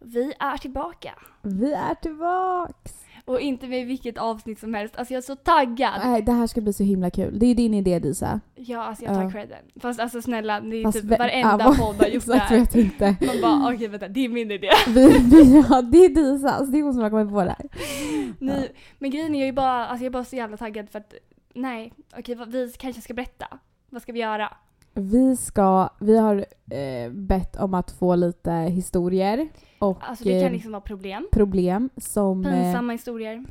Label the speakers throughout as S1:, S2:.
S1: Vi är tillbaka.
S2: Vi är tillbaks!
S1: Och inte med vilket avsnitt som helst. Alltså jag är så taggad.
S2: Nej, det här ska bli så himla kul. Det är din idé Disa.
S1: Ja, alltså jag tar
S2: Ja.
S1: credden. Fast alltså snälla, det är
S2: Fast
S1: typ
S2: ve-
S1: varenda
S2: ja,
S1: podd har gjort det
S2: Exakt vad
S1: här.
S2: jag tänkte.
S1: Man bara "Ah, okej vänta, det är min idé.
S2: Vi, vi, ja, det är Disas, det är hon som har kommit på det här.
S1: Ni, Men grejen är jag är bara, alltså jag är bara så jävla taggad för att nej, okej vad- vi kanske ska berätta. Vad ska vi göra?
S2: Vi ska, vi har eh, bett om att få lite historier och
S1: Alltså det
S2: eh,
S1: kan liksom vara problem.
S2: problem som, eh,
S1: Pinsamma historier.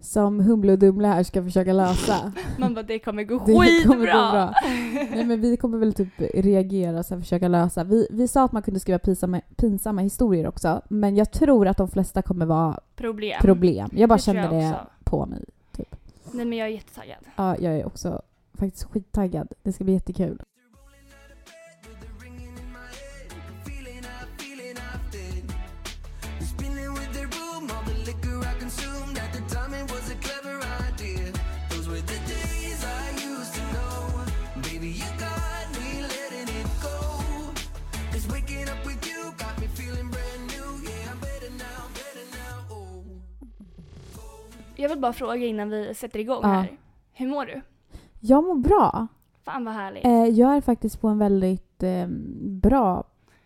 S2: som Humle och Dumle här ska försöka lösa.
S1: Man bara det kommer gå
S2: Det
S1: skitbra.
S2: kommer gå bra. Nej men vi kommer väl typ reagera och försöka lösa. Vi, vi sa att man kunde skriva pinsamma, pinsamma historier också men jag tror att de flesta kommer vara
S1: problem.
S2: problem. Jag bara
S1: Det tror
S2: känner
S1: jag
S2: det
S1: också.
S2: på mig.
S1: Nej men jag är jättetaggad.
S2: Ja, jag är också faktiskt skittaggad. Det ska bli jättekul.
S3: Spinning with the room, all the liquor I consumed at the time it was a clever idea. Those were the days I used to know. Baby, you got me letting it go. 'Cause waking up with you got me feeling brand new. Yeah, I'm better now, better now. Oh.
S1: Jag vill bara fråga innan vi sätter igång
S2: Ja.
S1: här. Hur mår du?
S2: Jag mår bra.
S1: Fan vad härligt.
S2: Eh, jag är faktiskt på en väldigt eh, bra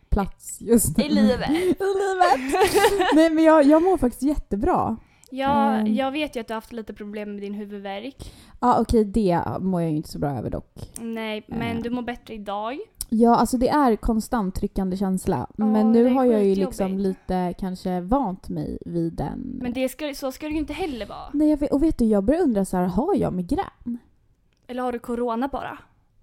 S2: plats just nu.
S1: I livet.
S2: I livet. Nej men jag, jag mår faktiskt jättebra.
S1: Jag,
S2: Mm.
S1: jag vet ju att du har haft lite problem med din huvudvärk.
S2: Ja okej det mår jag ju inte så bra över dock.
S1: Nej, men
S2: Eh.
S1: du mår bättre idag.
S2: Ja alltså det är konstant tryckande känsla.
S1: Ja,
S2: men nu
S1: det är
S2: har jag ju
S1: skitjobbigt.
S2: liksom lite kanske vant mig vid den.
S1: Men det ska, så ska det ju inte heller vara.
S2: Nej jag vet, och vet du jag börjar undra så här, har jag migrän?
S1: Eller har du corona bara?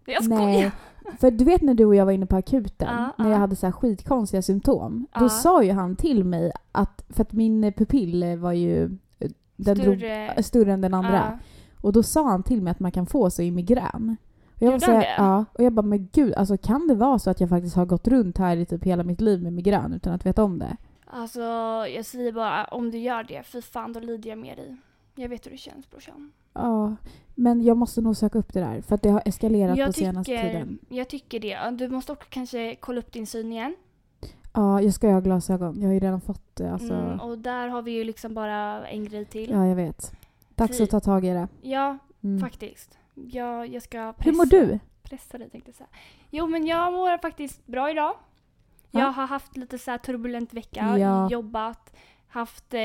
S1: Jag skojar!
S2: Nej. För du vet när du och jag var inne på akuten,
S1: Ja,
S2: när
S1: ja.
S2: jag hade så här skitkonstiga symptom.
S1: Ja.
S2: Då sa ju han till mig att, för att min pupill var ju eh, den drog,
S1: Större-
S2: större än den andra.
S1: eh, Ja.
S2: Och då sa han till mig att man kan få så i migrän. Och jag, var
S1: Gjorde
S2: så
S1: han
S2: här,
S1: det?
S2: ja, och jag bara, men gud, alltså kan det vara så att jag faktiskt har gått runt här i typ hela mitt liv med migrän utan att veta om det?
S1: Alltså, jag säger bara om du gör det, fy fan då lider jag med dig. Jag vet hur det känns brorsan.
S2: Ja, men jag måste nog söka upp det där för att det har eskalerat på
S1: Jag
S2: senaste
S1: tycker,
S2: tiden.
S1: jag tycker det. Du måste också kanske kolla upp din syn igen.
S2: Ja, jag ska ju ha glasögon. Jag har ju redan fått det. Alltså.
S1: Mm, och där har vi ju liksom bara en grej till. Ja,
S2: Ja, jag vet. Dags
S1: Fy-
S2: att ta tag i det. Mm.
S1: faktiskt. Jag, jag ska pressa,
S2: Hur mår du?
S1: pressa dig tänkte jag säga. Jo men jag mår faktiskt bra idag. Jag
S2: Ja.
S1: har haft lite så här turbulent vecka,
S2: Ja.
S1: jobbat, haft eh,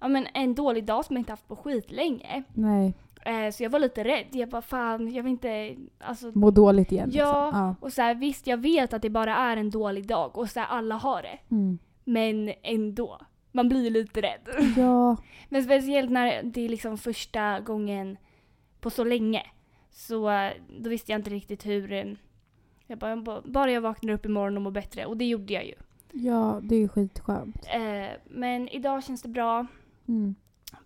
S1: ja, men en dålig dag som jag inte haft på skit länge.
S2: Nej,
S1: Eh, så jag var lite rädd. Jag bara fan, jag vill inte... Alltså,
S2: mår dåligt igen.
S1: Ja.
S2: Liksom. ja.
S1: och så här, visst, jag vet att det bara är en dålig dag och så här, alla har det.
S2: Mm.
S1: Men ändå. Man blir ju lite rädd.
S2: ja.
S1: Men speciellt när det är liksom första gången på så länge. Så eh, då visste jag inte riktigt hur... eh, Jag bara, jag bara- bara jag vaknar upp imorgon och mår bättre. Och det gjorde jag ju.
S2: Ja, det är ju skitskönt.
S1: Eh, Men idag känns det bra.
S2: Mm.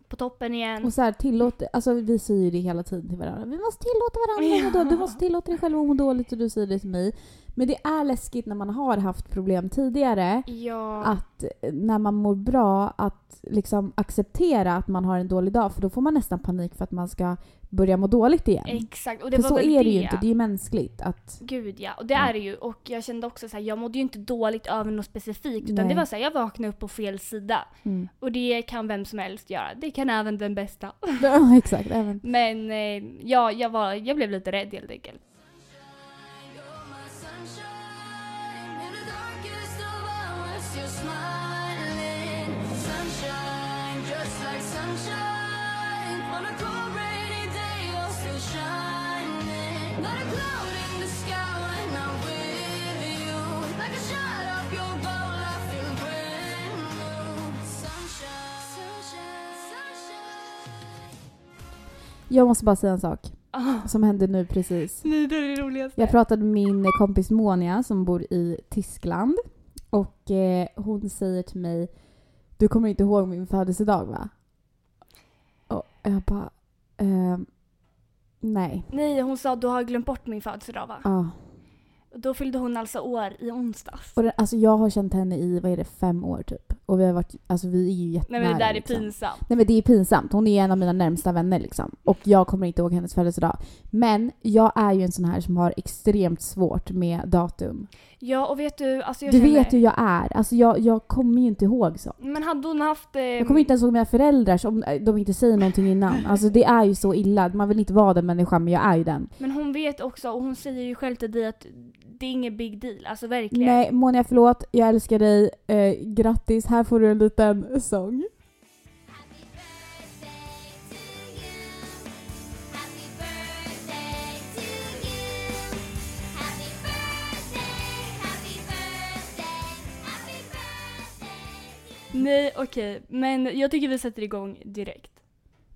S1: På toppen igen.
S2: Och så här, tillåt, alltså vi säger ju det hela tiden till varandra. Vi måste tillåta varandra att må
S1: Ja.
S2: dåligt. Du måste tillåta dig själv att må dåligt och du säger det till mig. Men det är läskigt när man har haft problem tidigare.
S1: Ja,
S2: Att eh, när man mår bra, att liksom acceptera att man har en dålig dag. För då får man nästan panik för att man ska börja må dåligt igen.
S1: exakt. Och det
S2: för
S1: var
S2: så
S1: väl
S2: är det ju inte. Det är ju mänskligt att...
S1: Gud ja, och det
S2: Ja.
S1: är det ju. Och jag kände också så här, jag mådde ju inte dåligt över något specifikt. Utan
S2: Nej.
S1: det var så här, jag vaknade upp på fel sida.
S2: Mm.
S1: Och det kan vem som helst göra. Det kan även den bästa.
S2: Ja, exakt. Även
S1: Men eh, ja, jag, var, jag blev lite rädd helt enkelt.
S3: You're my sunshine in the darkest of hours. You're smiling, sunshine, just like sunshine on a cold rainy day. You're still shining, not a cloud in the sky when I'm with you. Like a shot of your bow, I feel brand new. Sunshine, sunshine, sunshine.
S2: Jag måste bara säga en sak
S1: Ah.
S2: som hände nu precis.
S1: Nej, det är det roligaste.
S2: Jag pratade med min kompis Monia som bor i Tyskland och eh, hon säger till mig Du kommer inte ihåg min födelsedag va? Och jag bara ehm, Nej.
S1: Nej, hon sa du har glömt bort min födelsedag va?
S2: Ja.
S1: Och Då fyllde hon alltså år i onsdags.
S2: Och det, alltså jag har känt henne i, vad är det, fem år typ. Och vi har varit, alltså vi är ju
S1: Nej
S2: jättenära.
S1: men det där är
S2: liksom.
S1: pinsamt.
S2: Nej men det är pinsamt. Hon är en av mina närmsta vänner liksom. Och jag kommer inte ihåg hennes födelsedag. Men jag är ju en sån här som har extremt svårt med datum.
S1: Ja och vet du, alltså jag
S2: Du
S1: känner,
S2: vet hur jag är. Alltså jag, jag kommer ju inte ihåg så.
S1: Men hade hon haft... Eh,
S2: Jag kommer inte ens ihåg mina föräldrar om eh, de inte säger någonting innan. Alltså det är ju så illa. Man vill inte vara den människan men jag är ju den.
S1: Men hon vet också, och hon säger ju själv till dig att det är ingen big deal, alltså verkligen.
S2: Nej Monia förlåt. Jag älskar dig. Eh, grattis. Här får du en liten sång.
S3: Happy birthday to you. Happy birthday to you. Happy birthday, happy birthday, happy birthday.
S1: Nej okej, men jag tycker vi sätter igång direkt.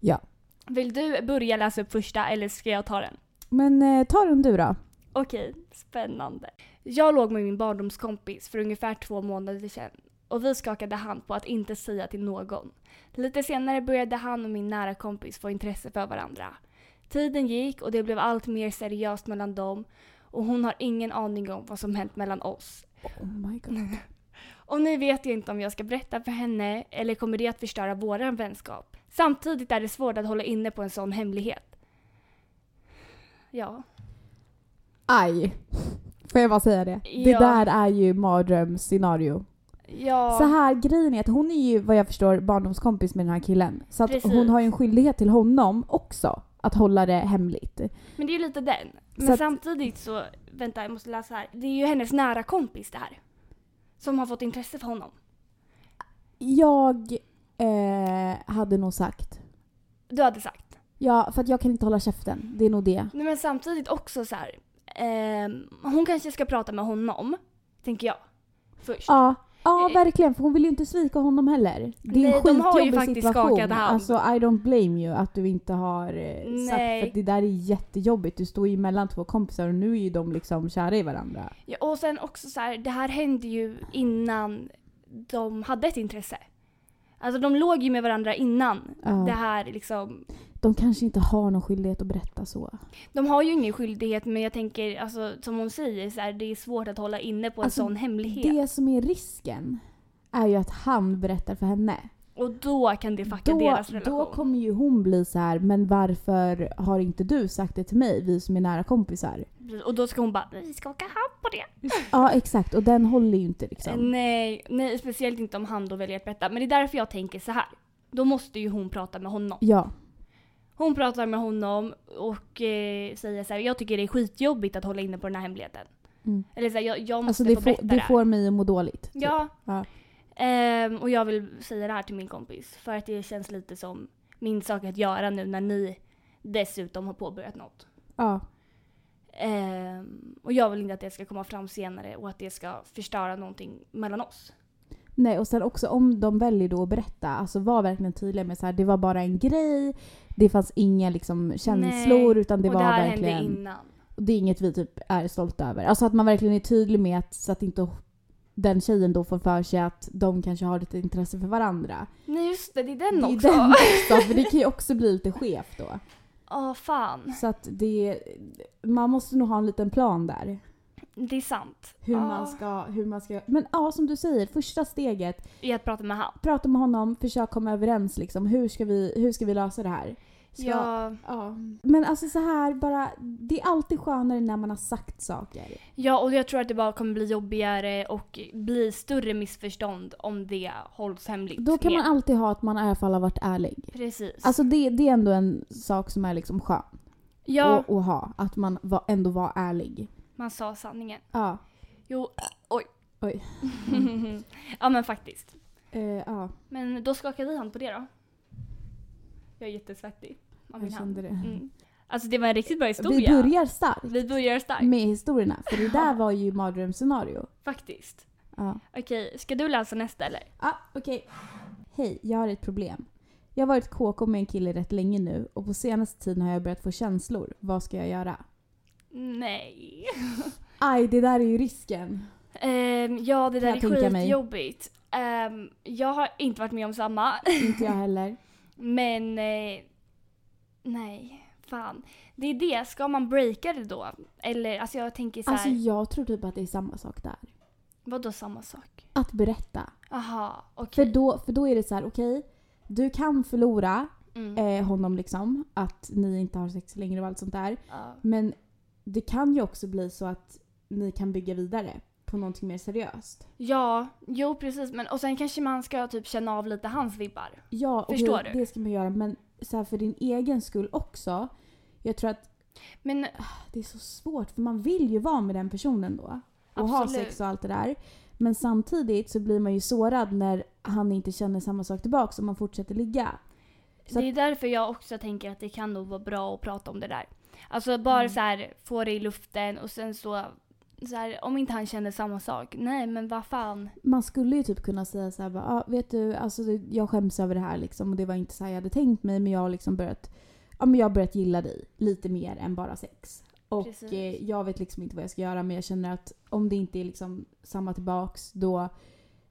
S2: Ja.
S1: Vill du börja läsa upp första eller ska jag ta den?
S2: Men eh, ta den du då.
S1: Okej, spännande. Jag låg med min barndomskompis för ungefär två månader sedan och vi skakade hand på att inte säga till någon. Lite senare började han och min nära kompis få intresse för varandra. Tiden gick och det blev allt mer seriöst mellan dem och hon har ingen aning om vad som hänt mellan oss.
S2: Oh my god.
S1: Och nu vet jag inte om jag ska berätta för henne eller kommer det att förstöra våran vänskap. Samtidigt är det svårt att hålla inne på en sån hemlighet. Ja.
S2: Aj. Får jag bara säga det? Det
S1: Ja.
S2: där är ju mardrömsscenario.
S1: Ja.
S2: Så här, grejen är att hon är ju vad jag förstår barndomskompis med den här killen. Så att
S1: Precis.
S2: hon har ju en skyldighet till honom också att hålla det hemligt.
S1: Men det är ju lite den. Men
S2: Så att-
S1: samtidigt så, vänta jag måste läsa här. Det är ju hennes nära kompis det här. Som har fått intresse för honom.
S2: Jag eh, hade nog sagt.
S1: Du hade sagt.
S2: Ja, för att jag kan inte hålla käften. Det är nog det.
S1: Nej, men samtidigt också så här. ehm, hon kanske ska prata med honom, tänker jag. Först.
S2: Ja, ja
S1: Eh,
S2: verkligen. För hon vill ju inte svika honom heller. Det är
S1: Nej,
S2: en
S1: de har ju
S2: skitjobbig
S1: faktiskt
S2: situation.
S1: skakat hand.
S2: Alltså I don't blame you att du inte har eh, sagt.
S1: Nej.
S2: För att det där är jättejobbigt. Du står ju mellan två kompisar och nu är ju de liksom kära i varandra.
S1: Ja, och sen också så här, det här hände ju innan de hade ett intresse. Alltså de låg ju med varandra innan
S2: Ja.
S1: det här liksom.
S2: De kanske inte har någon skyldighet att berätta så.
S1: De har ju ingen skyldighet men jag tänker, alltså som hon säger, så här, det är svårt att hålla inne på en
S2: Alltså,
S1: sån hemlighet.
S2: Det som är risken är ju att han berättar för henne.
S1: Och då kan det fucka
S2: Då,
S1: deras relation.
S2: då kommer ju hon bli så här, men varför har inte du sagt det till mig, vi som är nära kompisar?
S1: Precis, Och då ska hon bara vi ska åka hand på det.
S2: Ja exakt, och den håller ju inte liksom.
S1: Nej, nej, speciellt inte om han då väljer att berätta. Men det är därför jag tänker så här. Då måste ju hon prata med honom.
S2: Ja,
S1: Hon pratar med honom och eh, säger så här, jag tycker det är skitjobbigt att hålla inne på den här hemligheten.
S2: Mm.
S1: Eller så här, jag, jag måste
S2: alltså det,
S1: få
S2: får,
S1: berätta
S2: det
S1: här.
S2: får mig att må dåligt. typ.
S1: Ja.
S2: Ja.
S1: Ehm, och jag vill säga det här till min kompis för att det känns lite som min sak att göra nu när ni dessutom har påbörjat något.
S2: Typ. ja.
S1: Ehm, och jag vill inte att det ska komma fram senare och att det ska förstöra någonting mellan oss.
S2: Nej, och sen också om de väljer då att berätta, alltså var verkligen tydliga med så här, det var bara en grej, det fanns inga liksom känslor
S1: Nej,
S2: utan det
S1: och
S2: var
S1: det här
S2: verkligen...
S1: hände innan.
S2: Och det är inget vi typ är stolta över. Alltså att man verkligen är tydlig med att, så att inte den tjejen då får för sig att de kanske har lite intresse för varandra.
S1: Nej just det, det är den
S2: det är
S1: också.
S2: den
S1: Ja,
S2: också, för det kan ju också bli lite skevt då.
S1: fan.
S2: Så att det, man måste nog ha en liten plan där.
S1: Det är sant.
S2: Hur
S1: Ja.
S2: man ska, hur man ska, men ja som du säger, första steget,
S1: I att prata med han.
S2: prata med honom, försök komma överens liksom. Hur ska vi, hur ska vi lösa det här? Ska,
S1: Ja,
S2: ja. Men alltså så här bara, det är alltid skönare när man har sagt saker.
S1: ja, och jag tror att det bara kommer bli jobbigare och bli större missförstånd om det hålls hemligt.
S2: Då kan
S1: mer.
S2: man alltid ha att man i alla fall har varit ärlig.
S1: Precis.
S2: Alltså det, det är ändå en sak som är liksom skön
S1: ja,
S2: att, att ha. Att man var, ändå var ärlig.
S1: man sa sanningen.
S2: Ja.
S1: Jo,
S2: Oj.
S1: ja men faktiskt.
S2: Eh, ja,
S1: Men då skakar vi hand på det då. Jag är jättesvettig. Av
S2: jag
S1: min hand.
S2: kände det.
S1: Mm. Alltså det var en riktigt bra historia.
S2: Vi börjar starkt
S1: Vi börjar starkt,
S2: med historierna. För det där var ju mardrömsscenario.
S1: faktiskt.
S2: Ja.
S1: Okej, ska du läsa nästa eller?
S2: Ah, okej. Hej, jag har ett problem. Jag har varit KK med en kille rätt länge nu och på senaste tiden har jag börjat få känslor. Vad ska jag göra?
S1: Nej.
S2: Aj, det där är ju risken.
S1: Ehm, ja, det där
S2: Jag
S1: är
S2: tänker mig.
S1: skitjobbigt. Ehm, jag har inte varit med om samma,
S2: Inte jag heller.
S1: men eh, nej, fan. Det är det, ska man breaka det då? Eller alltså jag tänker så här,
S2: Alltså jag tror typ att det är samma sak där.
S1: Vadå samma sak?
S2: Att berätta.
S1: Aha, okej.
S2: För då, för då är det så här, okej, du kan förlora
S1: Mm.
S2: eh, honom liksom, att ni inte har sex längre och allt sånt där.
S1: Ja.
S2: Men det kan ju också bli så att ni kan bygga vidare på någonting mer seriöst.
S1: Ja, jo precis. Men, och sen kanske man ska typ känna av lite hans vibbar.
S2: Ja, okej,
S1: Förstår du?
S2: det ska man göra. Men så här, för din egen skull också. Jag tror att
S1: Men
S2: det är så svårt för man vill ju vara med den personen då. Och ha
S1: Absolut.
S2: sex och allt det där. Men samtidigt så blir man ju sårad när han inte känner samma sak tillbaka och man fortsätter ligga. Så
S1: det är därför jag också tänker att det kan nog vara bra att prata om det där. Alltså bara
S2: Mm.
S1: så här, få det i luften och sen så, så här, om inte han känner samma sak, nej men vad fan.
S2: Man skulle ju typ kunna säga så här, bara, ah, vet du, alltså, det- jag skäms över det här liksom och det var inte så här jag hade tänkt mig men jag har liksom börjat, ja, men jag har börjat gilla dig lite mer än bara sex. Och
S1: Precis.
S2: eh, jag vet liksom inte vad jag ska göra men jag känner att om det inte är liksom samma tillbaks då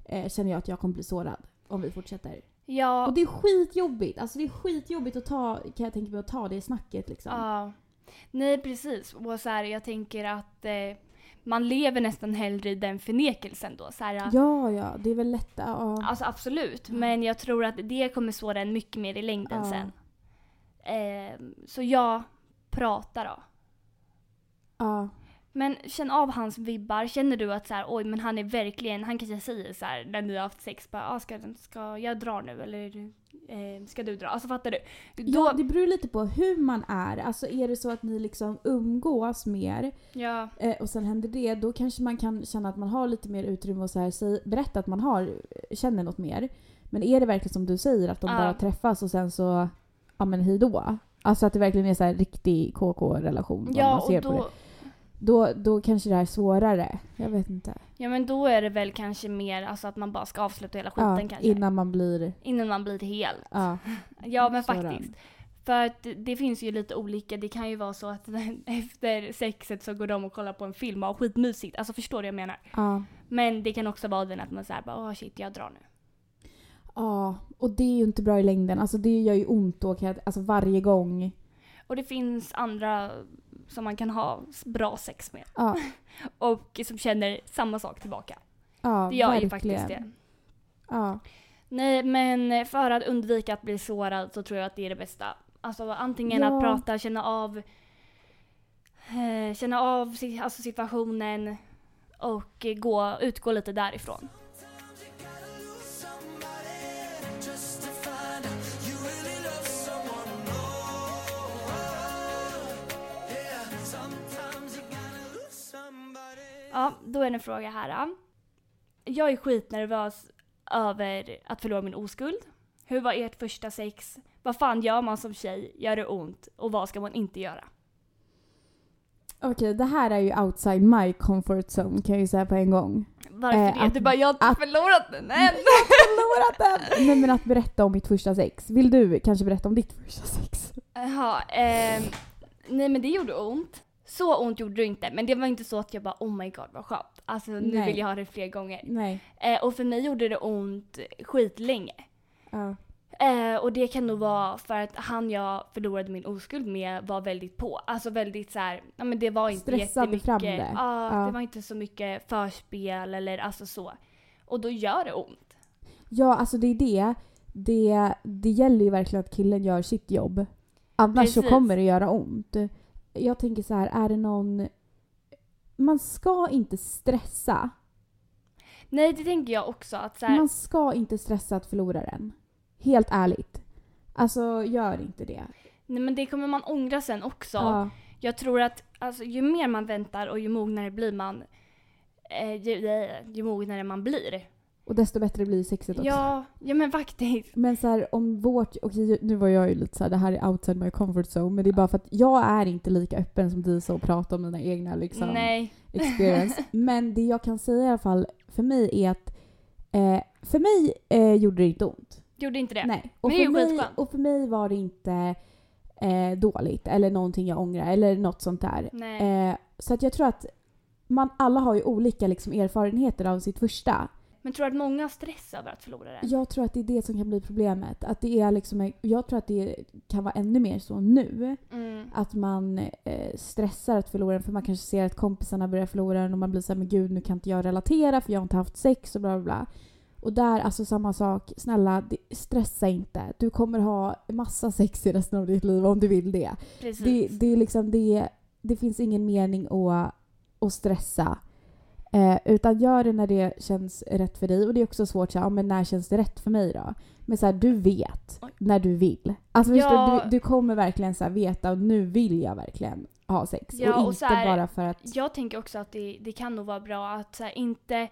S2: eh, känner jag att jag kommer bli sårad om vi fortsätter.
S1: Ja,
S2: Och det är skitjobbigt. Alltså det är skitjobbigt att ta, kan jag tänka mig, att ta det snacket liksom.
S1: ja. Nej precis. Och så här, jag tänker att eh, man lever nästan hellre i den förnekelsen då. Så här,
S2: ja, ja, det är väl lätt. Ja, ja.
S1: Alltså absolut, men jag tror att det kommer såra en mycket mer i längden
S2: Ja.
S1: sen. Ehm, så jag pratar då.
S2: ja.
S1: Men känn av hans vibbar. Känner du att så här, oj men han är verkligen, han kanske säger så här när ni har haft sex, bara, ah, ska, ska jag dra nu eller eh, ska du dra? Alltså fattar du? Då,
S2: ja, det beror lite på hur man är. Alltså är det så att ni liksom umgås mer
S1: ja,
S2: eh, och sen händer det, då kanske man kan känna att man har lite mer utrymme och så här, säg, berätta att man har, eh, känner något mer. Men är det verkligen som du säger, att de
S1: Ja.
S2: bara träffas och sen så, ja men hej då. Alltså att det verkligen är så här riktig KK-relation. om man
S1: ja
S2: ser
S1: och
S2: på det.
S1: då,
S2: Då, då kanske det här är svårare. Jag vet inte.
S1: ja, men då är det väl kanske mer alltså, att man bara ska avsluta hela skiten
S2: Ja,
S1: kanske.
S2: innan man blir...
S1: innan man blir hel.
S2: Ja,
S1: Ja men
S2: Så är
S1: faktiskt. För att det- det finns ju lite olika, det kan ju vara så att efter sexet så går de och kollar på en film och har skitmysigt. Alltså förstår du vad jag menar?
S2: ja.
S1: Men det kan också vara den att man såhär bara åh shit jag drar nu.
S2: ja, och det är ju inte bra i längden. Alltså det gör ju ont då, kan jag- alltså varje gång.
S1: Och det finns andra som man kan ha s- bra sex med
S2: Ja,
S1: och som känner samma sak tillbaka.
S2: ja
S1: Det gör
S2: verkligen.
S1: ju faktiskt det.
S2: Ja,
S1: Nej men för att undvika att bli sårad så tror jag att det är det bästa. Alltså antingen
S2: Ja.
S1: att prata, känna av eh, känna av si- alltså situationen och eh, gå, utgå lite därifrån.
S3: Sometimes you gotta lose somebody just to find out you really love someone more. Yeah, sometimes you gotta lose somebody.
S1: Ja, då är det en fråga här. då. Jag är skitnervös över att förlora min oskuld. Hur var ert första sex? Vad fan gör man som tjej? Gör det ont? Och vad ska man inte göra?
S2: okej det här är ju outside my comfort zone kan jag ju säga på en gång.
S1: Varför
S2: Eh,
S1: det?
S2: att-
S1: du bara, jag har inte
S2: att-
S1: förlorat den än!
S2: Förlorat den! Nej men att berätta om mitt första sex. Vill du kanske berätta om ditt första sex?
S1: Jaha, ehm, nej men det gjorde ont. Så ont gjorde det inte, men det var inte så att jag bara oh my god vad skönt. Alltså nu
S2: Nej.
S1: vill jag ha det fler gånger.
S2: Nej.
S1: Eh, och för mig gjorde det ont skitlänge.
S2: Ja.
S1: Eh, och det kan nog vara för att han jag förlorade min oskuld med var väldigt på. Alltså väldigt så här, ja men det var inte
S2: Stressade
S1: jättemycket.
S2: fram det.
S1: Ja,
S2: Ja.
S1: det var inte så mycket förspel eller alltså så. Och då gör det ont.
S2: Ja, alltså det är det. Det, det gäller ju verkligen att killen gör sitt jobb. Annars så
S1: Precis.
S2: kommer det göra ont. Jag tänker så här, är det någon... Man ska inte stressa.
S1: Nej det tänker jag också att så här,
S2: Man ska inte stressa att förlora den. Helt ärligt. Alltså, gör inte det.
S1: nej men det kommer man ångra sen också.
S2: Ja.
S1: Jag tror att alltså, ju mer man väntar och ju mognare blir man, eh, ju, eh, ju mognare man blir.
S2: Och desto bättre blir sexet också.
S1: Ja, ja men faktiskt.
S2: Men så här, om vårt... Okej, nu var jag ju lite så här, det här är outside my comfort zone. Men det är bara för att jag är inte lika öppen som Disa och pratar om mina egna liksom,
S1: Nej.
S2: experience. Men det jag kan säga i alla fall för mig är att eh, för mig eh, gjorde det inte ont.
S1: Gjorde inte det?
S2: Nej. Och,
S1: Men det är
S2: för
S1: ju
S2: mig,
S1: skitskönt.
S2: och för mig var det inte eh, dåligt eller någonting jag ångrar eller något sånt där.
S1: Nej.
S2: Eh, så att jag tror att man alla har ju olika liksom, erfarenheter av sitt första.
S1: Men tror du att många har stress över att förlora den?
S2: Jag tror att det är det som kan bli problemet. Att det är liksom, jag tror att det kan vara ännu mer så nu.
S1: Mm.
S2: Att man eh, stressar att förlora den för man kanske ser att kompisarna börjar förlora den och man blir såhär men gud nu kan inte jag relatera för jag har inte haft sex och bla bla bla. Och där, alltså samma sak. Snälla, det- stressa inte. Du kommer ha massa sex i resten av ditt liv om du vill det.
S1: Precis.
S2: Det, det, är liksom, det, det finns ingen mening att, att stressa. Eh, utan gör det när det känns rätt för dig. Och det är också svårt, så här, ja, men när känns det rätt för mig då? Men så här, du vet
S1: Oj.
S2: när du vill. Alltså,
S1: Ja.
S2: förstår, du, du kommer verkligen så här, veta och nu vill jag verkligen ha sex.
S1: Ja,
S2: och
S1: och
S2: inte
S1: så här-
S2: bara för att...
S1: Jag tänker också att det, det kan nog vara bra att så här, inte...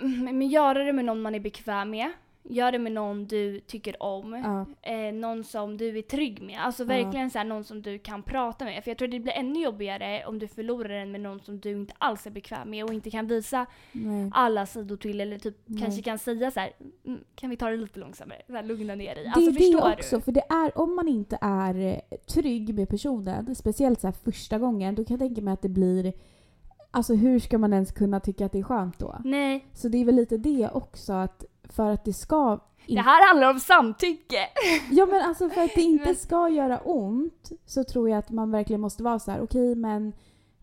S1: Mm, Men göra det med någon man är bekväm med. Gör det med någon du tycker om.
S2: Ja,
S1: Eh, någon som du är trygg med. Alltså
S2: Ja.
S1: verkligen så här, någon som du kan prata med. För jag tror det blir ännu jobbigare om du förlorar den med någon som du inte alls är bekväm med och inte kan visa
S2: nej.
S1: alla sidor till eller typ
S2: Nej.
S1: kanske kan säga så här, "Mm, kan vi ta det lite långsammare? Så här, lugna ner dig.
S2: det
S1: Alltså
S2: är
S1: förstår
S2: det också,
S1: du?
S2: för det är om man inte är eh, trygg med personen, speciellt så här första gången, då kan jag tänka mig att det blir... Alltså hur ska man ens kunna tycka att det är skönt då?
S1: Nej,
S2: Så det är väl lite det också att för att det ska...
S1: det här handlar om samtycke.
S2: Ja men alltså för att det inte
S1: Men-
S2: ska göra ont så tror jag att man verkligen måste vara så här: okej men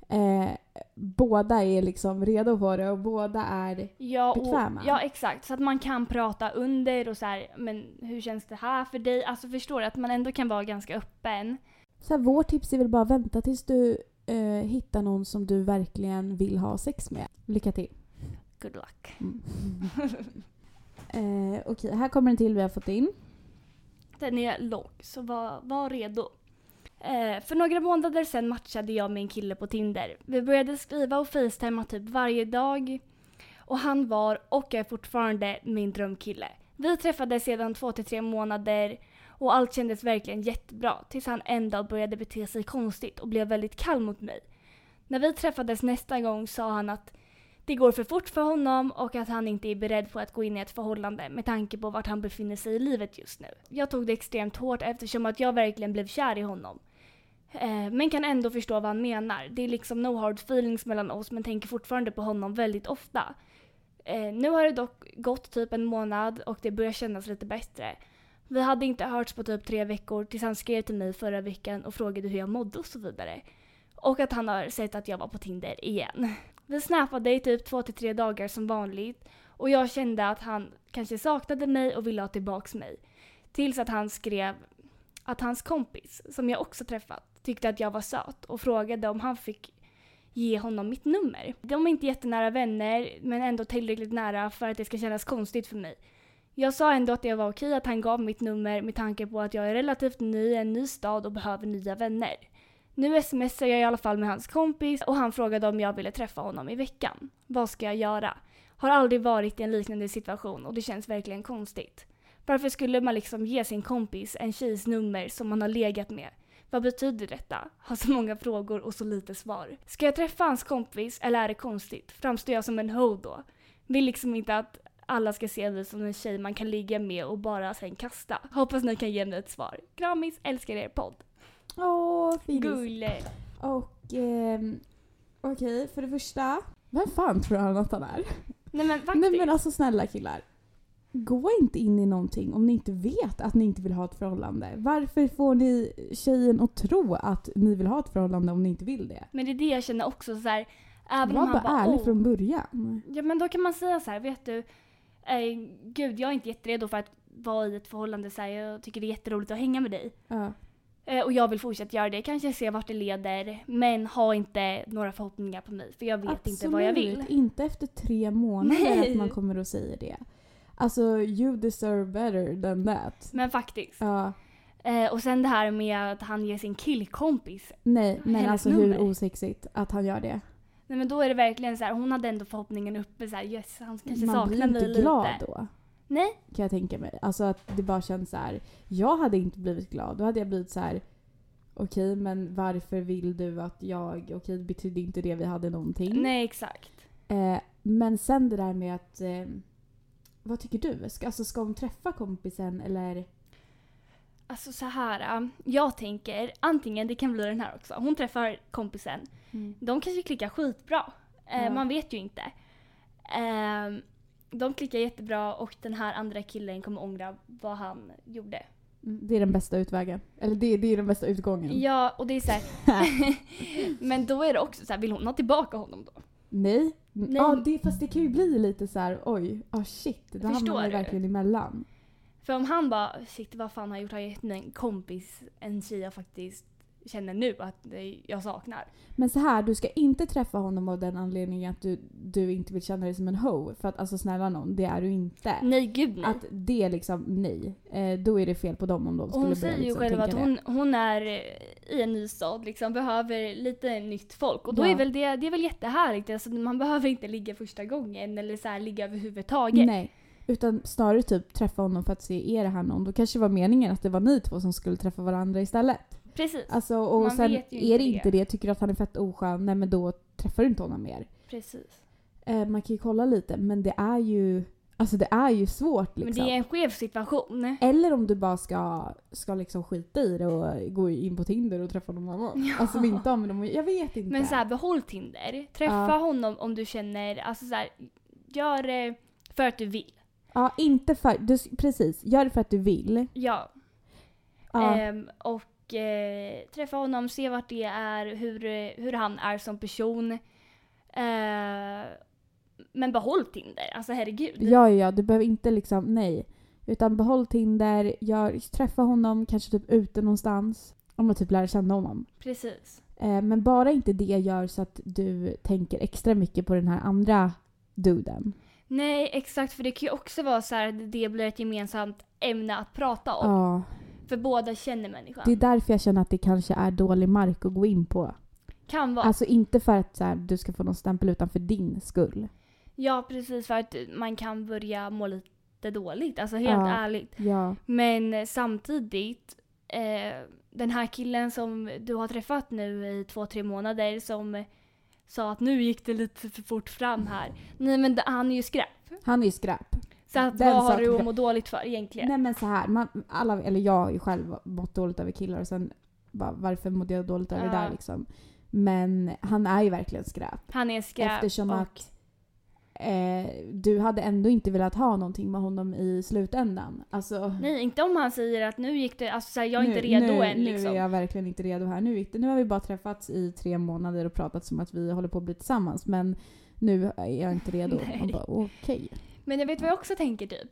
S2: eh, båda är liksom redo på det och båda är...
S1: Ja,
S2: Bekväma.
S1: Och, ja, exakt. Så att man kan prata under och så här, men hur känns det här för dig? Alltså förstår du? Att man ändå kan vara ganska öppen.
S2: Så här, vårt tips är väl bara vänta tills du eh, hittar någon som du verkligen vill ha sex med. Lycka till!
S1: Good luck.
S2: Mm. eh, okej, här kommer en till vi har fått in.
S1: Den är lång, så var, var redo. Eh, för några månader sedan matchade jag med en kille på Tinder. Vi började skriva och facetima typ varje dag. Och han var, och är fortfarande, min drömkille. Vi träffades sedan två till tre månader och allt kändes verkligen jättebra tills han en dag började bete sig konstigt och blev väldigt kall mot mig. När vi träffades nästa gång sa han att det går för fort för honom och att han inte är beredd på att gå in i ett förhållande med tanke på vart han befinner sig i livet just nu. Jag tog det extremt hårt eftersom att jag verkligen blev kär i honom. Eh, men kan ändå förstå vad han menar. Det är liksom no hard feelings mellan oss men tänker fortfarande på honom väldigt ofta. Eh, nu har det dock gått typ en månad och det börjar kännas lite bättre. Vi hade inte hörts på typ tre veckor tills han skrev till mig förra veckan och frågade hur jag mådde och så vidare. Och att han har sett att jag var på Tinder igen. Vi snappade i typ två till tre dagar som vanligt och jag kände att han kanske saknade mig och ville ha tillbaks mig. Tills att han skrev att hans kompis, som jag också träffat, tyckte att jag var söt och frågade om han fick ge honom mitt nummer. De är inte jättenära vänner men ändå tillräckligt nära för att det ska kännas konstigt för mig. Jag sa ändå att det var okej att han gav mitt nummer med tanke på att jag är relativt ny i en ny stad och behöver nya vänner. Nu smsar jag i alla fall med hans kompis och han frågade om jag ville träffa honom i veckan. Vad ska jag göra? Har aldrig varit i en liknande situation och det känns verkligen konstigt. Varför skulle man liksom ge sin kompis en tjejs nummer som man har legat med? Vad betyder detta? Har så många frågor och så lite svar. Ska jag träffa hans kompis eller är det konstigt? Framstår jag som en ho då? Vill liksom inte att alla ska se mig som en tjej man kan ligga med och bara sen kasta. Hoppas ni kan ge mig ett svar. Kramis, älskar er podd.
S2: Åh, Filis.
S1: Gulle!
S2: Och ehm, okej, för det första. Vem fan tror han att han är?
S1: Nej men faktiskt.
S2: Nej men alltså snälla killar. Gå inte in i någonting om ni inte vet att ni inte vill ha ett förhållande. Varför får ni tjejen att tro att ni vill ha ett förhållande om ni inte vill det?
S1: Men det är det jag känner också så här. Även
S2: Var
S1: om han
S2: bara
S1: bara,
S2: ärlig
S1: "Oh."
S2: från början.
S1: Ja men då kan man säga så här, vet du. Eh, gud jag är inte jätteredo för att vara i ett förhållande så här, jag tycker det är jätteroligt att hänga med dig.
S2: Ja.
S1: Eh, och jag vill fortsätta göra det, kanske se vart det leder. Men ha inte några förhoppningar på mig för jag vet inte vad jag vill.
S2: Absolut inte efter tre månader
S1: Nej.
S2: att man kommer och säger det. Alltså you deserve better than that.
S1: Men faktiskt.
S2: Ja,
S1: Eh, och sen det här med att han ger sin killkompis.
S2: nej men
S1: Hennes
S2: alltså
S1: nummer.
S2: hur osexigt att han gör det.
S1: Nej men då är det verkligen så här, hon hade ändå förhoppningen uppe så här, yes han kanske
S2: man
S1: saknar
S2: blir
S1: mig
S2: inte
S1: lite.
S2: glad då.
S1: Nej.
S2: Kan jag tänka mig. Alltså att det bara känns så här. Jag hade inte blivit glad. Då hade jag blivit så här. Okej, men varför vill du att jag... Okej, det betydde inte det vi hade någonting.
S1: Nej exakt.
S2: Eh, men sen det där med att... Eh, vad tycker du? Ska, alltså, ska hon träffa kompisen eller?
S1: Alltså så här, äh, jag tänker antingen, det kan bli den här också, hon Mm. träffar kompisen. De kanske klickar skitbra. Eh,
S2: Ja.
S1: Man vet ju inte. Ehm, de klickar jättebra och den här andra killen kommer ångra vad han gjorde.
S2: Mm, Det är den bästa utvägen. Eller det, det är den bästa utgången.
S1: Ja, och det är så här. Men då är det också så här, vill hon ha tillbaka honom då?
S2: Nej. Mm,
S1: Nej.
S2: Ja, det, fast det kan ju bli lite så här, oj, ah shit, det hamnar
S1: Förstår
S2: man ju
S1: du?
S2: verkligen emellan.
S1: För om han bara, shit vad fan har jag gjort? Har jag gett en kompis en tjej jag faktiskt känner nu att det- jag saknar?
S2: Men så här, du ska inte träffa honom av den anledningen att du, du inte vill känna dig som en hoe. För att alltså snälla någon, det är du inte.
S1: Nej gud nej.
S2: Att det liksom, nej. Eh, då är det fel på dem om de
S1: Och
S2: skulle
S1: hon
S2: börja
S1: säger ju
S2: liksom,
S1: själv
S2: tänka
S1: att
S2: det.
S1: hon, hon är eh, i en ny stad, liksom, behöver lite nytt folk. Och då
S2: Ja.
S1: är väl det, det är väl jättehärligt. Alltså, man behöver inte ligga första gången eller så här, ligga överhuvudtaget.
S2: Nej. Utan snarare typ träffa honom för att se, är det här någon? Då kanske det var meningen att det var ni två som skulle träffa varandra istället.
S1: Precis.
S2: Alltså, och
S1: Man
S2: sen
S1: vet ju
S2: är det
S1: inte
S2: inte det, tycker du att han är fett oskön, nej men då träffar du inte honom mer.
S1: precis.
S2: Eh, man kan ju kolla lite, men det är ju, alltså det är ju svårt liksom.
S1: Men det är en skev situation.
S2: Eller om du bara ska, ska liksom skita i det och gå in på Tinder och träffa någon annan. Alltså vi inte om dem, jag vet inte.
S1: Men så här, behåll Tinder. Träffa
S2: Ja.
S1: honom om du känner, alltså så här, gör det för att du vill.
S2: Ja, inte för, du, precis. Gör det för att du vill.
S1: Ja.
S2: Ja,
S1: Ehm, och eh, träffa honom, se vart det är, hur, eh, hur han är som person. Eh, men behåll Tinder, alltså herregud.
S2: ja, ja, ja, du behöver inte liksom, nej. Utan behåll Tinder, gör, träffa honom kanske typ ute någonstans. Om man typ lär känna honom.
S1: Precis.
S2: Eh, men bara inte det gör så att du tänker extra mycket på den här andra duden.
S1: Nej, exakt för det kan ju också vara så här att det blir ett gemensamt ämne att prata om.
S2: Ja,
S1: För båda känner människan.
S2: det är därför jag känner att det kanske är dålig mark att gå in på.
S1: kan vara.
S2: Alltså inte för att så här, du ska få någon stämpel utan för din skull.
S1: Ja, precis för att man kan börja må lite dåligt, alltså helt
S2: Ja.
S1: ärligt.
S2: Ja.
S1: Men samtidigt, eh, den här killen som du har träffat nu i två, tre månader som sa att nu gick det lite för fort fram här. Nej men det- han är ju skräp.
S2: Han är ju skräp.
S1: Så att,
S2: Den
S1: vad har
S2: saken
S1: du
S2: bra.
S1: att må dåligt för egentligen?
S2: Nej men så här, man, alla, eller jag har ju själv mått dåligt över killar och sen bara, varför mådde jag dåligt över det
S1: Ja.
S2: där liksom. Men han är ju verkligen skräp.
S1: Han är skräp.
S2: Eftersom
S1: och,
S2: att eh, du hade ändå inte velat ha någonting med honom i slutändan. Alltså,
S1: Nej, inte om han säger att nu gick det, alltså så här, jag är inte
S2: Nu-
S1: redo
S2: nu,
S1: än liksom.
S2: Nu är jag verkligen inte redo här. Nu, gick det- nu har vi bara träffats i tre månader och pratat som att vi håller på att bli tillsammans men nu är jag inte redo.
S1: Nej.
S2: Man bara okej.
S1: Men jag vet vad jag också tänker typ.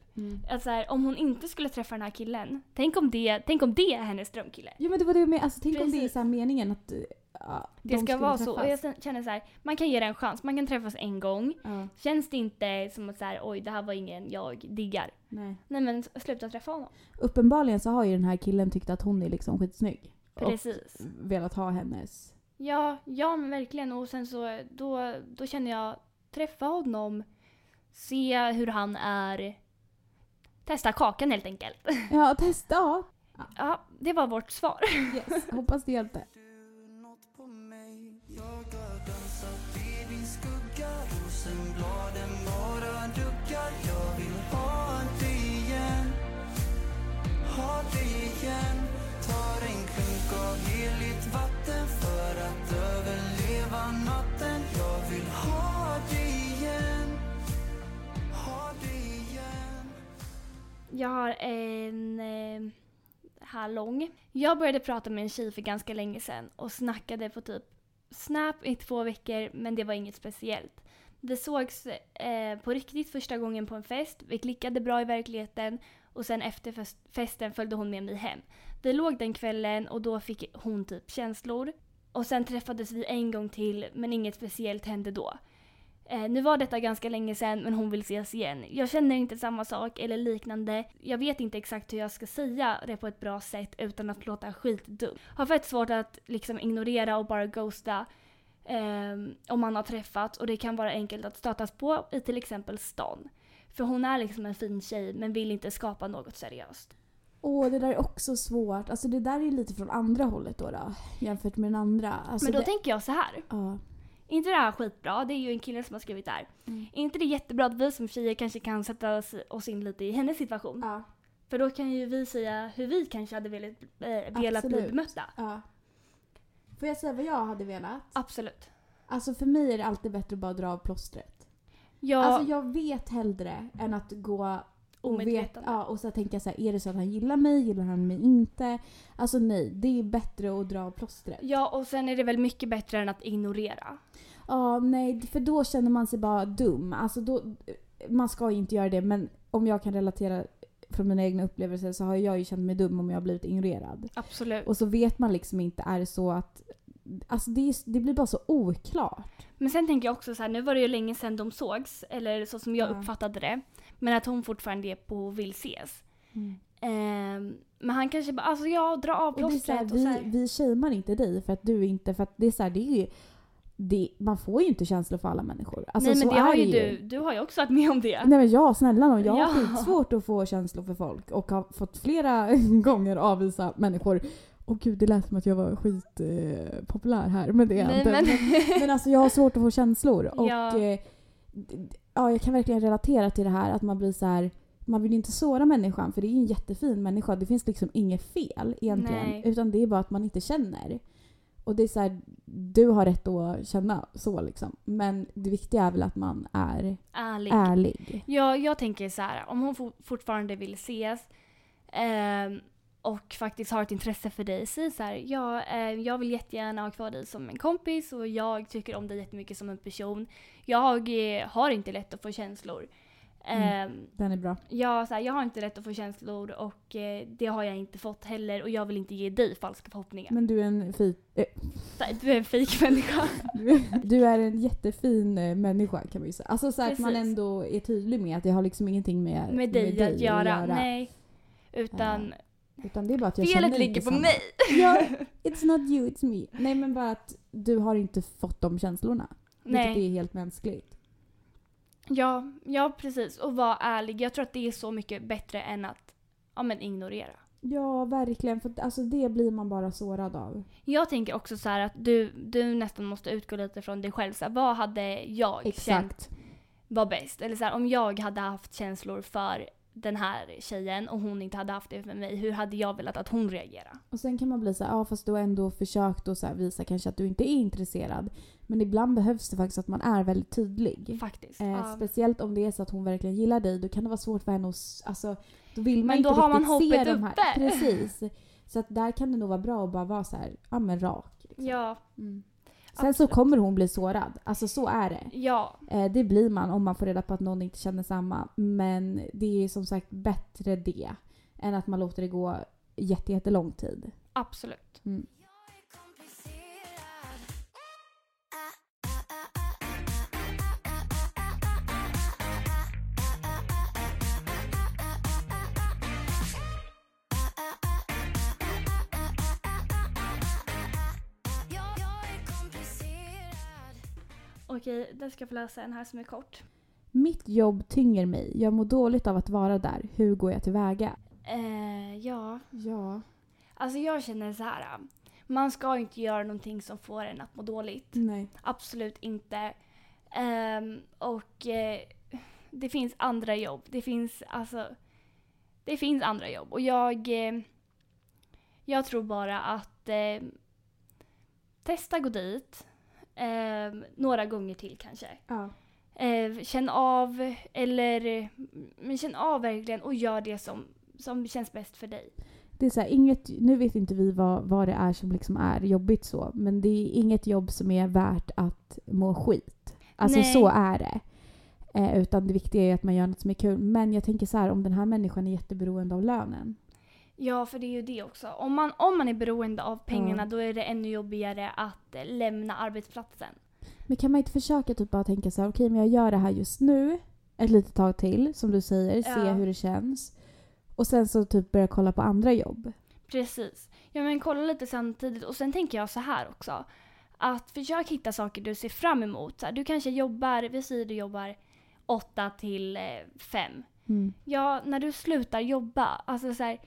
S1: Att så här, om hon inte skulle träffa den här killen, tänk om det, tänk om det är hennes drömkille.
S2: Jo men det var det med, alltså tänk om det är
S1: Precis.
S2: så här meningen att eh, ja,
S1: Det
S2: de
S1: ska
S2: skulle
S1: vara så.
S2: träffas.
S1: Och jag sen- känner så här, man kan ge det en chans, man kan träffas en gång.
S2: Ja,
S1: Känns det inte som att så här, oj det här var ingen jag diggar.
S2: nej.
S1: Nej men s- sluta träffa honom.
S2: Uppenbarligen så har ju den här killen tyckt att hon är liksom skitsnygg.
S1: Precis.
S2: Och velat ha hennes.
S1: Ja, ja men verkligen. Och sen så då, då känner jag träffa honom, se hur han är, testa kakan helt enkelt.
S2: Ja testa! ja.
S1: Ja, det var vårt svar.
S2: Yes. Hoppas det hjälpte.
S4: du något på mig? Jag har dansat i din skugga Rosenbladen bara duckar Jag vill ha dig igen Ha dig igen Tar en klunk av heligt vatten För att överleva natten Jag vill ha dig igen Ha dig igen
S1: Jag har en eh, här lång. Jag började prata med en tjej för ganska länge sedan och snackade på typ Snap i två veckor men det var inget speciellt. Vi sågs eh, på riktigt första gången på en fest, vi klickade bra i verkligheten och sen efter fest- festen följde hon med mig hem. Vi låg den kvällen och då fick hon typ känslor. Och sen träffades vi en gång till men inget speciellt hände då. Eh, nu var detta ganska länge sedan men hon vill ses igen. Jag känner inte samma sak eller liknande. Jag vet inte exakt hur jag ska säga det på ett bra sätt utan att låta skitdum. Har fett svårt att liksom ignorera och bara ghosta ehm, om man har träffats och det kan vara enkelt att stötas på i till exempel stan. För hon är liksom en fin tjej men vill inte skapa något seriöst.
S2: Åh, det där är också svårt. Alltså det där är lite från andra hållet då, då jämfört med den andra. Alltså,
S1: men då
S2: det,
S1: tänker jag så här.
S2: ja.
S1: inte det här skitbra? Det är ju en kille som har skrivit det här. Är inte det jättebra att vi som tjejer kanske kan sätta oss- oss in lite i hennes situation?
S2: Ja,
S1: För då kan ju vi säga hur vi kanske hade velat, eh, velat bli
S2: Absolut.
S1: bemötta.
S2: ja. Får jag säga vad jag hade velat?
S1: Absolut.
S2: Alltså för mig är det alltid bättre att bara dra av plåstret.
S1: Ja,
S2: Alltså jag vet hellre än att gå och, vet,
S1: omedvetande.
S2: ja, och så tänka så här, är det så att han gillar mig, gillar han mig inte? Alltså nej, det är bättre att dra av plåstret.
S1: Ja, och sen är det väl mycket bättre än att ignorera.
S2: Ja, nej, för då känner man sig bara dum. Alltså då, man ska ju inte göra det, men om jag kan relatera från mina egna upplevelser så har jag ju känt mig dum om jag har blivit ignorerad.
S1: Absolut.
S2: Och så vet man liksom inte, är det så att... Alltså det, är, det blir bara så oklart.
S1: Men sen tänker jag också så här, nu var det ju länge sedan de sågs, eller så som jag
S2: Ja.
S1: uppfattade det. Men att hon fortfarande är på och vill ses. Ehm, men han kanske bara, alltså jag drar av
S2: Och det är så här,
S1: plåstret och så
S2: vi, alltså,
S1: här.
S2: vi shamear inte dig för att du inte... För att det är så här, det är ju, det, man får ju inte känslor för alla människor. Alltså,
S1: Nej men
S2: så
S1: det
S2: är
S1: har ju du, du har ju också varit med om det.
S2: Nej men ja, snälla nån. Jag
S1: Ja.
S2: har svårt att få känslor för folk och har fått flera gånger avvisa människor. Åh gud, det lät som att jag var skitpopulär eh, populär här, men det är jag
S1: Nej,
S2: inte.
S1: men-
S2: Men, men alltså jag har svårt att få känslor. Och
S1: Ja.
S2: eh, d- d- ja, jag kan verkligen relatera till det här att man blir så här. Man vill ju inte såra människan för det är ju en jättefin människa. Det finns liksom inget fel egentligen.
S1: Nej.
S2: Utan det är bara att man inte känner. Och det är så här, du har rätt att känna så liksom. Men det viktiga är väl att man är
S1: Ärligt.
S2: ärlig.
S1: Ja, jag tänker så här, om hon for- fortfarande vill ses ehm, och faktiskt har ett intresse för dig, säg så här, ja, eh, jag vill jättegärna ha kvar dig som en kompis och jag tycker om dig jättemycket som en person. Jag eh, har inte lätt att få känslor.
S2: Mm.
S1: Ehm,
S2: Den är bra.
S1: ja, så här, jag har inte lätt att få känslor och eh, det har jag inte fått heller och jag vill inte ge dig falska förhoppningar.
S2: Men du är en fin... eh,
S1: Så här, Du är en fake människa.
S2: du är en jättefin eh, människa kan man ju säga. Alltså så att man
S1: Precis.
S2: ändå är tydlig med att jag har liksom ingenting med,
S1: Med dig, att göra. Nej. Utan
S2: Utan det är bara att jag känner
S1: felet
S2: inte
S1: ligger på
S2: samma.
S1: mig.
S2: ja, it's not you, it's me. Nej men bara att du har inte fått de känslorna.
S1: Nej.
S2: Vilket är helt mänskligt.
S1: Ja, ja precis. Och vara ärlig. Jag tror att det är så mycket bättre än att ja, men ignorera.
S2: Ja, verkligen. För att, alltså, det blir man bara sårad av.
S1: Jag tänker också så här att du, du nästan måste utgå lite från dig själv. Så här, vad hade jag känt
S2: Exakt.
S1: var bäst? Eller så här, om jag hade haft känslor för den här tjejen och hon inte hade haft det för mig, hur hade jag velat att hon reagerade?
S2: Och sen kan man bli så här, ja fast du har ändå försökt att så här visa kanske att du inte är intresserad. Men ibland behövs det faktiskt att man är väldigt tydlig.
S1: Faktiskt.
S2: Eh,
S1: ja.
S2: Speciellt om det är så att hon verkligen gillar dig, då kan det vara svårt för henne att... s- Alltså, då vill man
S1: Men
S2: inte
S1: då har man
S2: riktigt se
S1: hoppet
S2: de här.
S1: uppe.
S2: Precis. Så att där kan det nog vara bra att bara vara så här, ja men rak. Liksom.
S1: Ja,
S2: Mm. Sen
S1: absolut.
S2: så kommer hon bli sårad. Alltså så är det.
S1: ja,
S2: Eh, det blir man om man får reda på att någon inte känner samma. Men det är som sagt bättre det än att man låter det gå jätte, jättelång tid.
S1: absolut.
S3: Jag är komplicerad Jag jag är komplicerad
S1: Okej, där ska jag få läsa en här som är kort.
S2: Mitt jobb tynger mig. Jag mår dåligt av att vara där. Hur går jag tillväga?
S1: Eh, ja.
S2: Ja.
S1: Alltså jag känner så här. äh, Man ska inte göra någonting som får en att må dåligt.
S2: Nej.
S1: Absolut inte. Ehm, och eh, det finns andra jobb. Det finns alltså... Det finns andra jobb. Och jag... Eh, jag tror bara att... Eh, testa gå dit. ehm, några gånger till kanske.
S2: Ja.
S1: Eh, känn av eller... Men känn av verkligen och gör det som, som känns bäst för dig.
S2: Det är så här, inget, nu vet inte vi vad, vad det är som liksom är jobbigt så, men det är inget jobb som är värt att må skit. Alltså
S1: Nej.
S2: så är det. Eh, utan det viktiga är att man gör något som är kul. Men jag tänker så här, om den här människan är jätteberoende av lönen.
S1: Ja, för det är ju det också. Om man, om man är beroende av pengarna
S2: Ja.
S1: då är det ännu jobbigare att eh, lämna arbetsplatsen.
S2: Men kan man inte försöka typ bara tänka så här, okej men jag gör det här just nu, ett litet tag till, som du säger, se
S1: Ja.
S2: hur det känns. Och sen så typ börja kolla på andra jobb.
S1: Precis. Ja, men kolla lite samtidigt. Och sen tänker jag så här också. Att försök hitta saker du ser fram emot. Så här, du kanske jobbar, vi säger du jobbar 8 till 5.
S2: Mm.
S1: Ja, när du slutar jobba, alltså så här,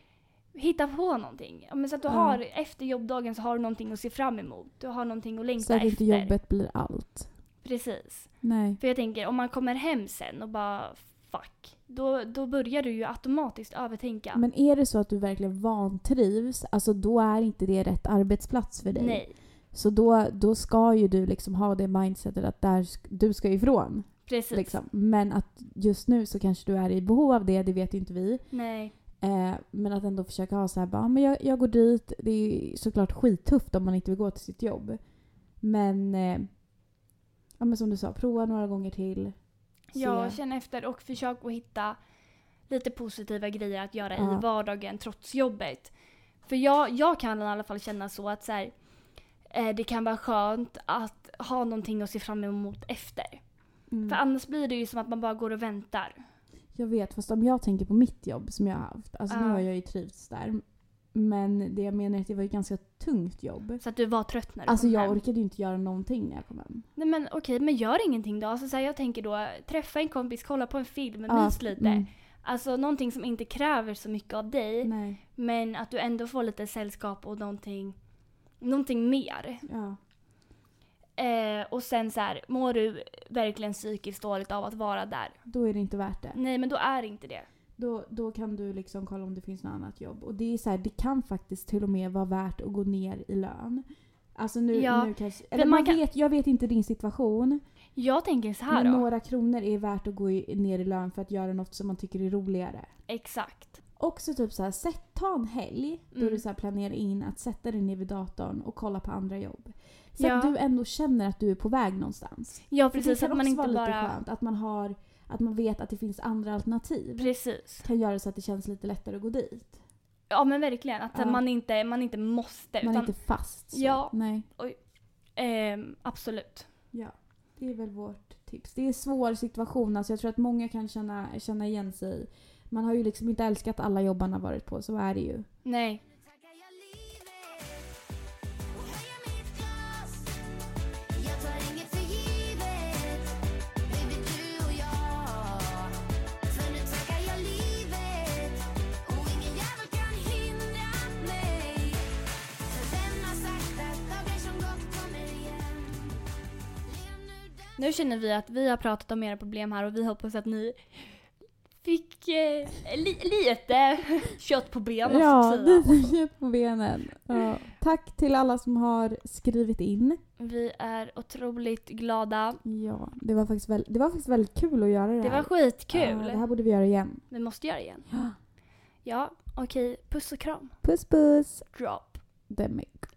S1: hitta på någonting. Ja, men så att du
S2: Ja.
S1: har, efter jobbdagen så har du någonting att se fram emot. Du har någonting att längta
S2: Så att
S1: efter.
S2: inte jobbet blir allt.
S1: Precis.
S2: Nej.
S1: För jag tänker, om man kommer hem sen och bara fuck, då, då börjar du ju automatiskt övertänka.
S2: Men är det så att du verkligen vantrivs, alltså då är inte det rätt arbetsplats för dig.
S1: Nej,
S2: Så då, då ska ju du liksom ha det mindsetet att där, sk- du ska ifrån.
S1: Precis.
S2: Liksom. Men att just nu så kanske du är i behov av det, det vet ju inte vi.
S1: Nej.
S2: Eh, men att ändå försöka ha så här, bara, men jag, jag går dit. Det är ju såklart skittufft om man inte vill gå till sitt jobb. Men, eh, ja, men som du sa, prova några gånger till. Se.
S1: Ja, känn efter och försök att hitta lite positiva grejer att göra
S2: Ja.
S1: i vardagen trots jobbet. För jag, jag kan i alla fall känna så att så här, eh, det kan vara skönt att ha någonting att se fram emot efter.
S2: Mm.
S1: För annars blir det ju som att man bara går och väntar.
S2: Jag vet, fast om jag tänker på mitt jobb som jag har haft. Alltså nu
S1: Ja.
S2: har jag ju trivts där. Men det jag menar är att det var ju ett ganska tungt jobb.
S1: Så att du var trött när du
S2: Alltså
S1: kom
S2: jag
S1: hem.
S2: orkade ju inte göra någonting när jag kom hem.
S1: Nej men okej, men gör ingenting då. Alltså, så här, jag tänker då, träffa en kompis, kolla på en film,
S2: Ja,
S1: mys lite.
S2: mm,
S1: Alltså någonting som inte kräver så mycket av dig.
S2: nej.
S1: Men att du ändå får lite sällskap och någonting, någonting mer.
S2: Ja.
S1: Eh, och sen så här, mår du verkligen psykiskt dåligt av att vara där?
S2: Då är det inte värt det.
S1: Nej men då är det inte det.
S2: Då, då kan du liksom kolla om det finns något annat jobb. Och det är så här, det kan faktiskt till och med vara värt att gå ner i lön. Alltså nu,
S1: Ja,
S2: nu kanske... Eller
S1: man
S2: man
S1: kan-
S2: vet, jag vet inte din situation.
S1: Jag tänker så här
S2: Men
S1: då.
S2: några kronor är värt att gå i, ner i lön för att göra något som man tycker är roligare.
S1: Exakt.
S2: Också typ så här, sätt, ta en helg då
S1: Mm.
S2: du så här planerar in att sätta dig ner vid datorn och kolla på andra jobb. Så att
S1: Ja.
S2: du ändå känner att du är på väg någonstans.
S1: Ja
S2: För
S1: precis,
S2: det kan
S1: att man
S2: också
S1: inte
S2: vara lite
S1: bara...
S2: skönt att man, har, att man vet att det finns andra alternativ.
S1: Precis.
S2: kan göra så att det känns lite lättare att gå dit.
S1: Ja men verkligen, att
S2: Ja.
S1: man, inte, man inte måste.
S2: Man är
S1: utan,
S2: inte fast. Så.
S1: Ja.
S2: Nej.
S1: ehm, absolut.
S2: Ja. Det är väl vårt tips. Det är en svår situation. Alltså jag tror att många kan känna, känna igen sig i. Man har ju liksom inte älskat alla jobb man har varit på, så är det ju.
S1: Nej.
S3: Tackar jag livet och höjer mitt glas. Jag tar inget för givet, baby du och jag. För nu tackar jag livet och ingen jävel kan hindra mig. För vem har sagt att dagar som gått kommer igen? Lev nu där
S1: Nu känner vi att vi har pratat om era problem här och vi hoppas att ni fick eh, li, lite kött på benen så
S2: Ja,
S1: att säga.
S2: lite djup på benen. Ja. Tack till alla som har skrivit in.
S1: Vi är otroligt glada.
S2: Ja, det var faktiskt, väl, det var faktiskt väldigt kul att göra det,
S1: Det
S2: här.
S1: var skitkul.
S2: Ja, det här borde vi göra igen.
S1: Vi måste göra det igen.
S2: Ja.
S1: Ja, okej. Puss och kram.
S2: Puss puss!
S1: Drop.
S2: Demig.